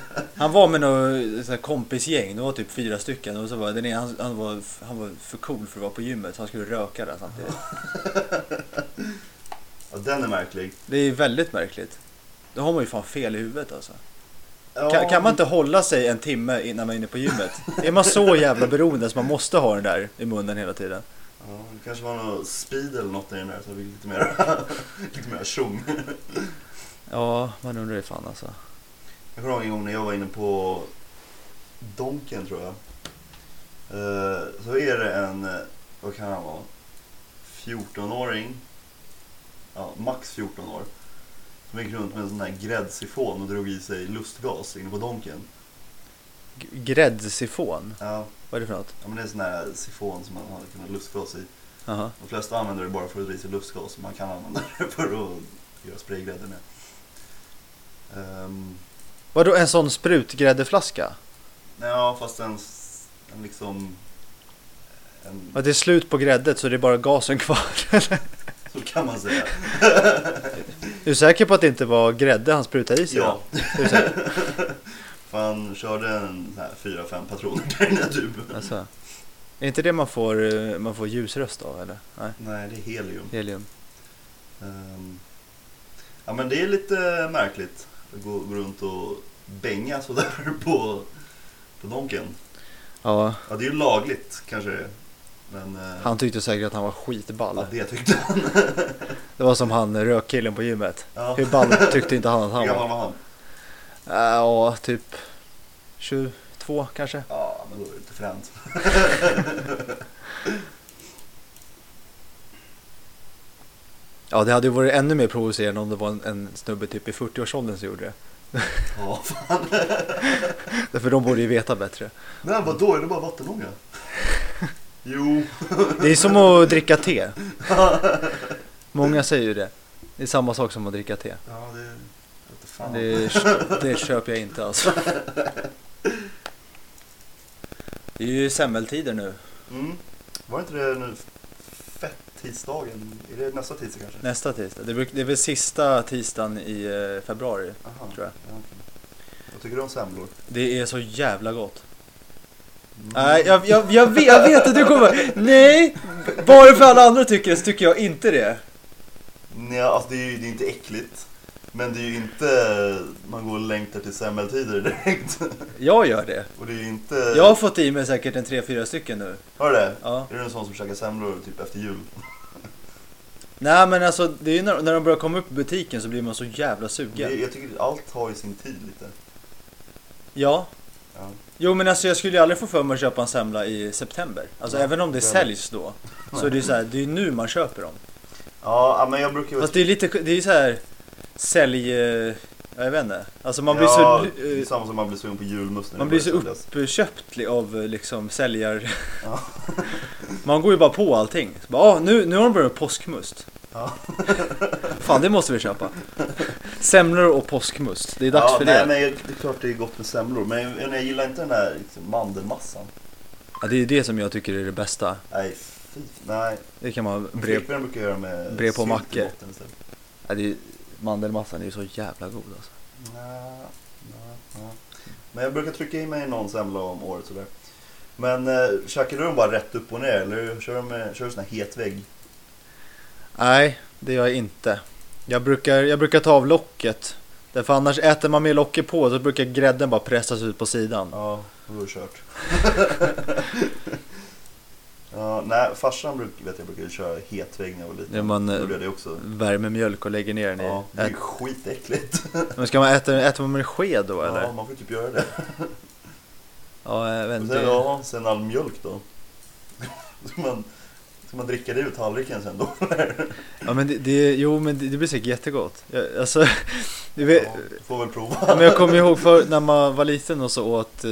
C: Han var med något så här kompisgäng, det var typ fyra stycken och så var den ena, han, han, var, han var för cool för att vara på gymmet så han skulle röka där samtidigt.
D: Ja, den är märklig.
C: Det är väldigt märkligt. Då har man ju fan fel i huvudet alltså.
D: Ja,
C: Kan, kan man inte hålla sig en timme innan man är inne på gymmet? Är man så jävla beroende så man måste ha den där i munnen hela tiden?
D: Ja, det kanske var någon speed eller något i den där så det blir lite mer, lite mer tjong.
C: Ja, man undrar ju fan alltså.
D: Jag kommer ihåg en gång när jag var inne på Donken tror jag. Eh, Så är det en, eh, vad kan han vara, 14-åring. Ja, max 14 år. Som gick runt med en sån här gräddsifon och drog i sig lustgas inne på Donken.
C: G- Gräddsifon,
D: Ja,
C: vad är det för något?
D: ja, men det är en sån här sifon som man hade kunnat lustgas i.
C: Jaha.
D: De flesta använder det bara för att dra i sig lustgas. Man kan använda det för att göra spraygrädde med. Ehm,
C: Vadå en sån sprutgräddeflaska?
D: Ja, fast en, s- en liksom... En,
C: Att det är slut på gräddet så det är bara gasen kvar? eller?
D: så kan man säga.
C: är du säker på att det inte var grädde han sprutade i sig?
D: Ja.
C: då? Är du säker?
D: För han körde en sån här fyra, fem patroner typ. till den här tuben.
C: Alltså, är inte det man får, eh, man får ljusröst av eller? Nej,
D: Nej, det är helium.
C: helium.
D: Ehm, ja, men det är lite märkligt att gå, gå runt och bänga sådär på, på Donken.
C: Ja,
D: Ja, det är ju lagligt kanske det är. Men eh,
C: han tyckte säkert att han var skitball.
D: ja, det tyckte han.
C: Det var som han rökkillen på gymmet.
D: Ja.
C: Hur ball tyckte inte han att
D: Hur
C: han var?
D: gammal var han?
C: Äh, Ja, typ 22 kanske.
D: Ja, men då är det lite fränt.
C: Ja, det hade ju varit ännu mer provocerande om det var en, en snubbe typ i 40-årsåldern som gjorde det.
D: Ja, fan.
C: Därför de borde ju veta bättre.
D: Men vadå, är det bara vattenånga? Jo.
C: Det är som att dricka te. Många säger ju det. Det är samma sak som att dricka te.
D: Ja, det... jag Vet fan.
C: Det, det köper jag inte alltså. Det är ju semmeltider nu.
D: Mm. Var inte det nu fett-tisdagen? Är det nästa tisdag kanske?
C: Nästa tisdag. Det, bruk, det är väl sista tisdagen i eh, februari.
D: Aha.
C: Tror jag.
D: Ja, okej. Vad tycker du om semlor?
C: Det är så jävla gott. Nej, jag, jag, jag, vet, jag vet att du kommer... Nej! Bara för alla andra tycker det så tycker jag inte det.
D: Nej, alltså det är ju det är inte äckligt. Men det är ju inte... Man går och längtar till semmeltider direkt.
C: Jag gör det.
D: Och det är ju inte...
C: Jag har fått i mig säkert en 3-4 stycken nu.
D: Har du det?
C: Ja.
D: Är du en sån som käkar semlor typ efter jul?
C: Nej men alltså, det är ju när, när de börjar komma upp i butiken så blir man så jävla sugen.
D: Det, jag tycker allt har ju sin tid lite.
C: Ja.
D: Ja.
C: Jo men alltså jag skulle ju aldrig få för mig att köpa en semla i september. Alltså även om det
D: det är
C: säljs då. Så det är ju så här, det är ju nu man köper dem.
D: Ja, ja, men jag brukar ju...
C: Fast det är lite, det är ju så här sälj... eh, Ja, jag vet inte. Alltså man blir
D: ja,
C: så...
D: det är
C: eh,
D: samma som man blir sugen på julmust när
C: Man
D: det
C: blir så
D: börjar säljas.
C: uppköpt li- av eh, liksom säljar...
D: Ja.
C: Man går ju bara på allting. Så bara, ah, nu, nu har de börjat med påskmust.
D: Ja.
C: Fan, det måste vi köpa. Semlor och påskmust. Det är dags
D: ja,
C: för
D: nej,
C: det.
D: Men jag, det är klart det är gott med semlor, men jag, jag gillar inte den här liksom, mandelmassan.
C: Ja, det är det som jag tycker är det bästa.
D: Nej, fy, nej.
C: Det kan man brev...
D: Flickvän brukar göra med
C: brev på
D: sylt i
C: mackor.
D: botten istället.
C: Ja, det är... Mandelmassan är ju så jävla god alltså.
D: Nej, nej, nej. Men jag brukar trycka i mig någon semla om året sådär. Men eh, käkar du dem bara rätt upp och ner eller kör du, med, kör du sån här het vägg?
C: Nej, det gör jag inte. Jag brukar, jag brukar ta av locket. Därför annars äter man med locket på så brukar grädden bara pressas ut på sidan.
D: Ja, då är det kört. ja, nej, farsan bruk, vet jag, brukade köra het vägg när jag var liten.
C: Ja, man, eh,
D: Gjorde jag det också.
C: Värmer mjölk och lägger ner den i...
D: Ja, det är
C: ät-
D: ju skitäckligt.
C: Men ska man äta, äter man med en sked då eller?
D: Ja, man får typ göra det.
C: Ja, jag vet
D: Och
C: inte.
D: sen, ja, sen all mjölk då. Ska man, ska man dricka det ur tallriken sen då?
C: Ja, men det, det, jo, men det, det blir säkert jättegott. Jag, alltså, du vet,
D: Ja, du får väl prova.
C: ja, men jag kommer ihåg för när man var liten och så åt eh,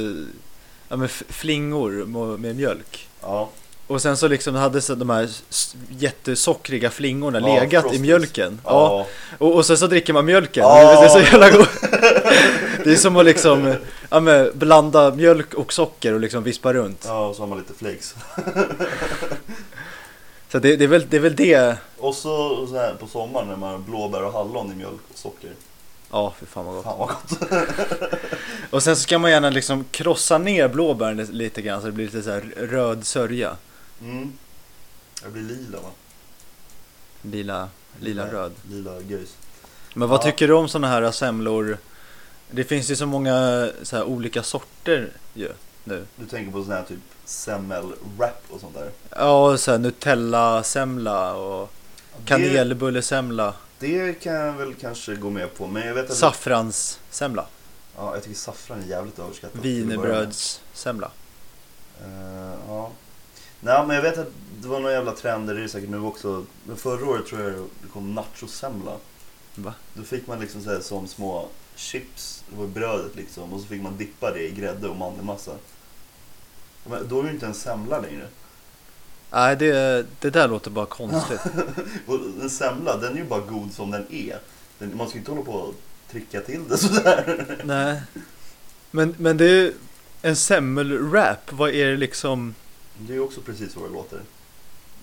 C: ja, men f- flingor med, med mjölk.
D: Ja,
C: Och sen så liksom hade så de här s- jättesockriga flingorna
D: Ja,
C: legat
D: Frosties.
C: i mjölken. Ja.
D: Ja.
C: Och, och sen så dricker man mjölken.
D: Ja.
C: Det är så jävla gott. Det är som att liksom ja, men, blanda mjölk och socker och liksom vispa runt.
D: ja, och så har man lite flakes.
C: Så det, det, är väl, det är väl det.
D: Och så, så här på sommaren när man har blåbär och hallon i mjölk och socker.
C: Ja, fy fan vad gott.
D: Fan vad gott.
C: Och sen så ska man gärna liksom krossa ner blåbären li- lite grann så det blir lite så här röd sörja.
D: Mm. Det blir lila va?
C: Lila, lila röd.
D: Lila göjs.
C: Men vad
D: Ja.
C: tycker du om sådana här semlor? Det finns ju så många så här olika sorter ju nu.
D: Du tänker på sån här typ semmel-wrap och sånt där.
C: Ja, och så här Nutella-semla och kanelbullesemla,
D: Det, det kan jag väl kanske gå med på. Men jag vet att...
C: saffranssemla,
D: Ja, jag tycker saffran är jävligt överskattat. till att börja med.
C: wienerbrödssemla.
D: Eh, ja. Nej men jag vet att det var några jävla trender, det är det säkert nu också. Men förra året tror jag det kom nachosemla.
C: Va?
D: Då fick man liksom så här, som små chips, det var brödet liksom. Och så fick man dippa det i grädde och mandelmassa. Men då är det ju inte en semla längre.
C: Nej, det, det där låter bara konstigt.
D: Och en semla, den är ju bara god som den är. Den, man ska ju inte hålla på och trycka till det sådär.
C: Nej. Men, men det är ju en semmelwrap, vad är det liksom?
D: Det är ju också precis vad det låter.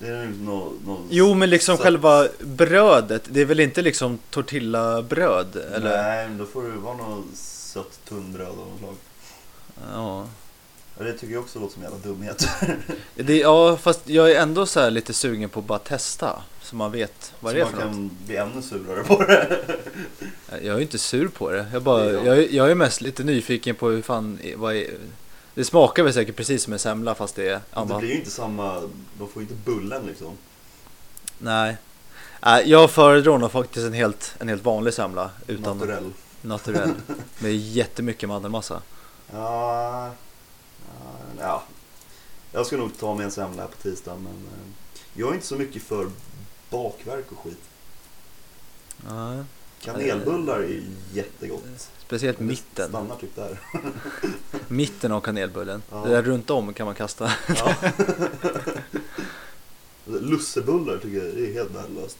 D: Det är ju nå nå
C: Jo, men liksom
D: Så-
C: själva brödet, det är väl inte liksom tortillabröd? Eller?
D: Nej, men då får det vara något sött tunnbröd av något slag.
C: Ja.
D: Ja, det tycker jag också låter som jävla dumhet.
C: Det, ja, fast jag är ändå så här lite sugen på att bara testa. Så man vet vad det är
D: så
C: för
D: man
C: något.
D: kan bli ännu surare på det.
C: Eh, Jag är inte sur på det. Jag, bara,
D: Det är jag.
C: jag, är- jag är mest lite nyfiken på hur fan... Vad är, det smakar väl säkert precis som en semla fast det är
D: Det
C: annat.
D: blir ju inte samma, de får ju inte bullen liksom.
C: Nej. Nej, jag föredrar nog faktiskt en helt, en helt vanlig semla. Utan naturell.
D: Naturell.
C: Med jättemycket mandelmassa.
D: Ja, ja, ja. Jag ska nog ta med en semla här på tisdag men eh, jag är inte så mycket för bakverk och skit.
C: Ja,
D: Kanelbullar är ju jättegott.
C: speciellt Eh, mitten.
D: Stannar typ där.
C: Mitten av kanelbullen.
D: Ja.
C: Det där runt om kan man kasta.
D: Ja. Lussebullar tycker jag det är helt värdelöst.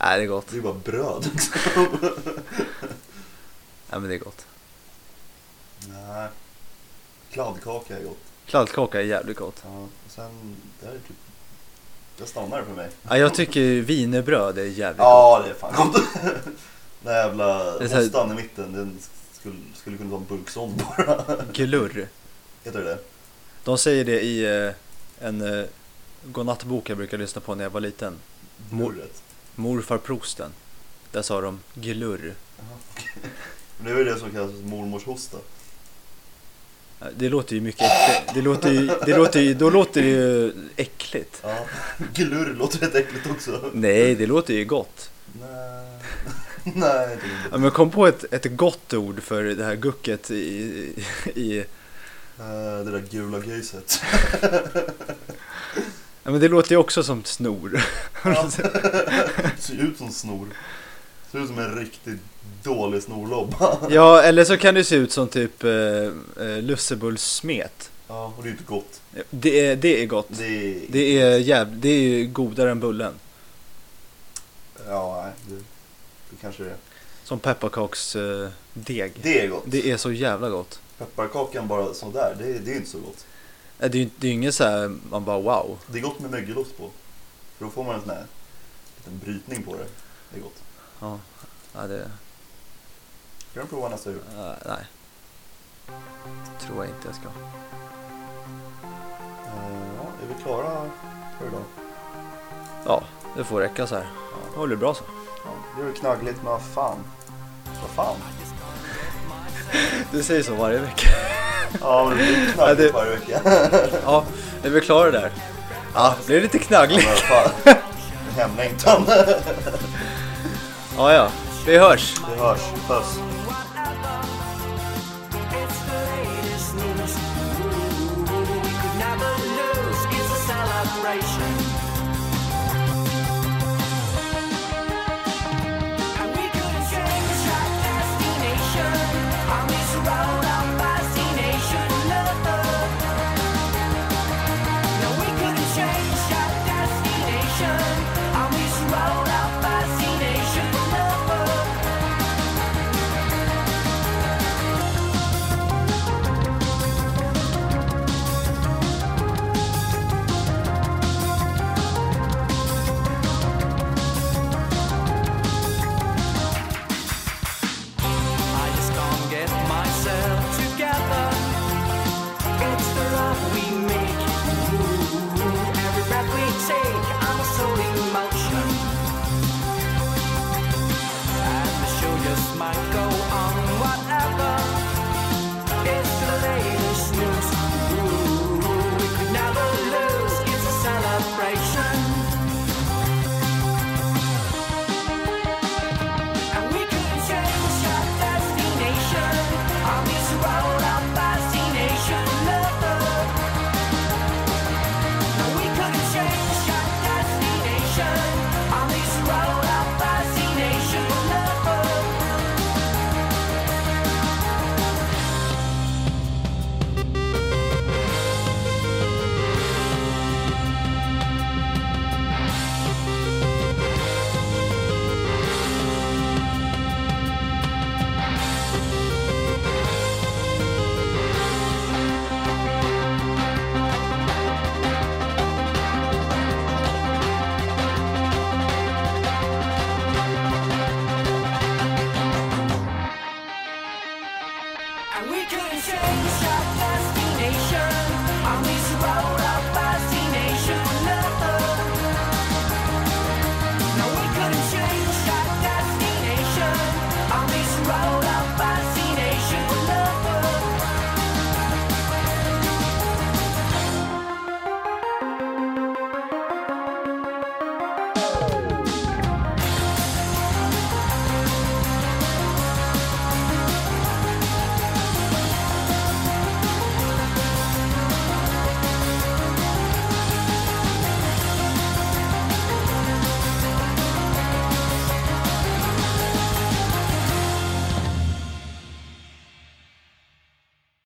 C: Nej, det är gott.
D: Det är bara bröd.
C: Nej, men det är gott.
D: Nej. Kladdkaka är gott.
C: Kladdkaka är jävligt gott.
D: Ja, och sen, det här är typ... Det stannar för mig.
C: Ja, jag tycker ju wienerbröd är jävligt gott.
D: Ja, det är fan gott. Den här jävla
C: Det är så här-
D: ostan i mitten, den skulle, skulle kunna vara en burk sån bara.
C: Glurr.
D: Heter det det
C: De säger det i eh, en eh, godnattbok jag brukade lyssna på när jag var liten.
D: Mordet.
C: Morfar Prosten. Där sa de glurr.
D: Men det är väl det som kallas för mormors hosta.
C: Eh, Det låter ju mycket äckligt. Det låter ju, det låter ju, då låter det ju äckligt.
D: Ja. Glurr låter rätt äckligt också.
C: Nej, det låter ju gott.
D: Nej. Nej, det är inte.
C: Ja, men jag kom på ett, ett gott ord för det här gucket i, i
D: Eh, Det där gula göset.
C: ja, men det låter ju också som snor.
D: Ja. Ser ut som snor. Ser ut som en riktigt dålig snorlobba.
C: Ja, eller så kan det se ut som typ eh, eh, lussebullssmet.
D: Ja, och det är ju inte gott.
C: Det är, det är gott.
D: Det är...
C: Det är, jäv, det är ju godare än bullen.
D: Ja, nej, det, det kanske det är.
C: Som pepparkaksdeg. Det,
D: Det är gott.
C: är så jävla gott.
D: Pepparkakan bara sådär, det, det är inte så gott.
C: Nej, Äh, Det är ju det är ju inget så här man bara wow.
D: Det är gott med mögelost på. För då får man en sån här liten brytning på det. Det är gott.
C: Ja, ja det...
D: Ska du prova nästa jul? Eh,
C: ja, nej. Tror jag inte jag ska.
D: Eh, ja, är vi klara för idag?
C: Ja, det får räcka så här. Det blir bra så.
D: Ja, det är väl knaggligt men vad fan. Vad fan?
C: Du säger så varje vecka.
D: Ja, men det blir
C: Ja, det-
D: knaggligt varje vecka.
C: Ja, är vi klara där? Ja, det är lite knaggligt.
D: Men fan. Hemlängtan.
C: Ja, ja. Vi hörs.
D: Vi hörs. Puss.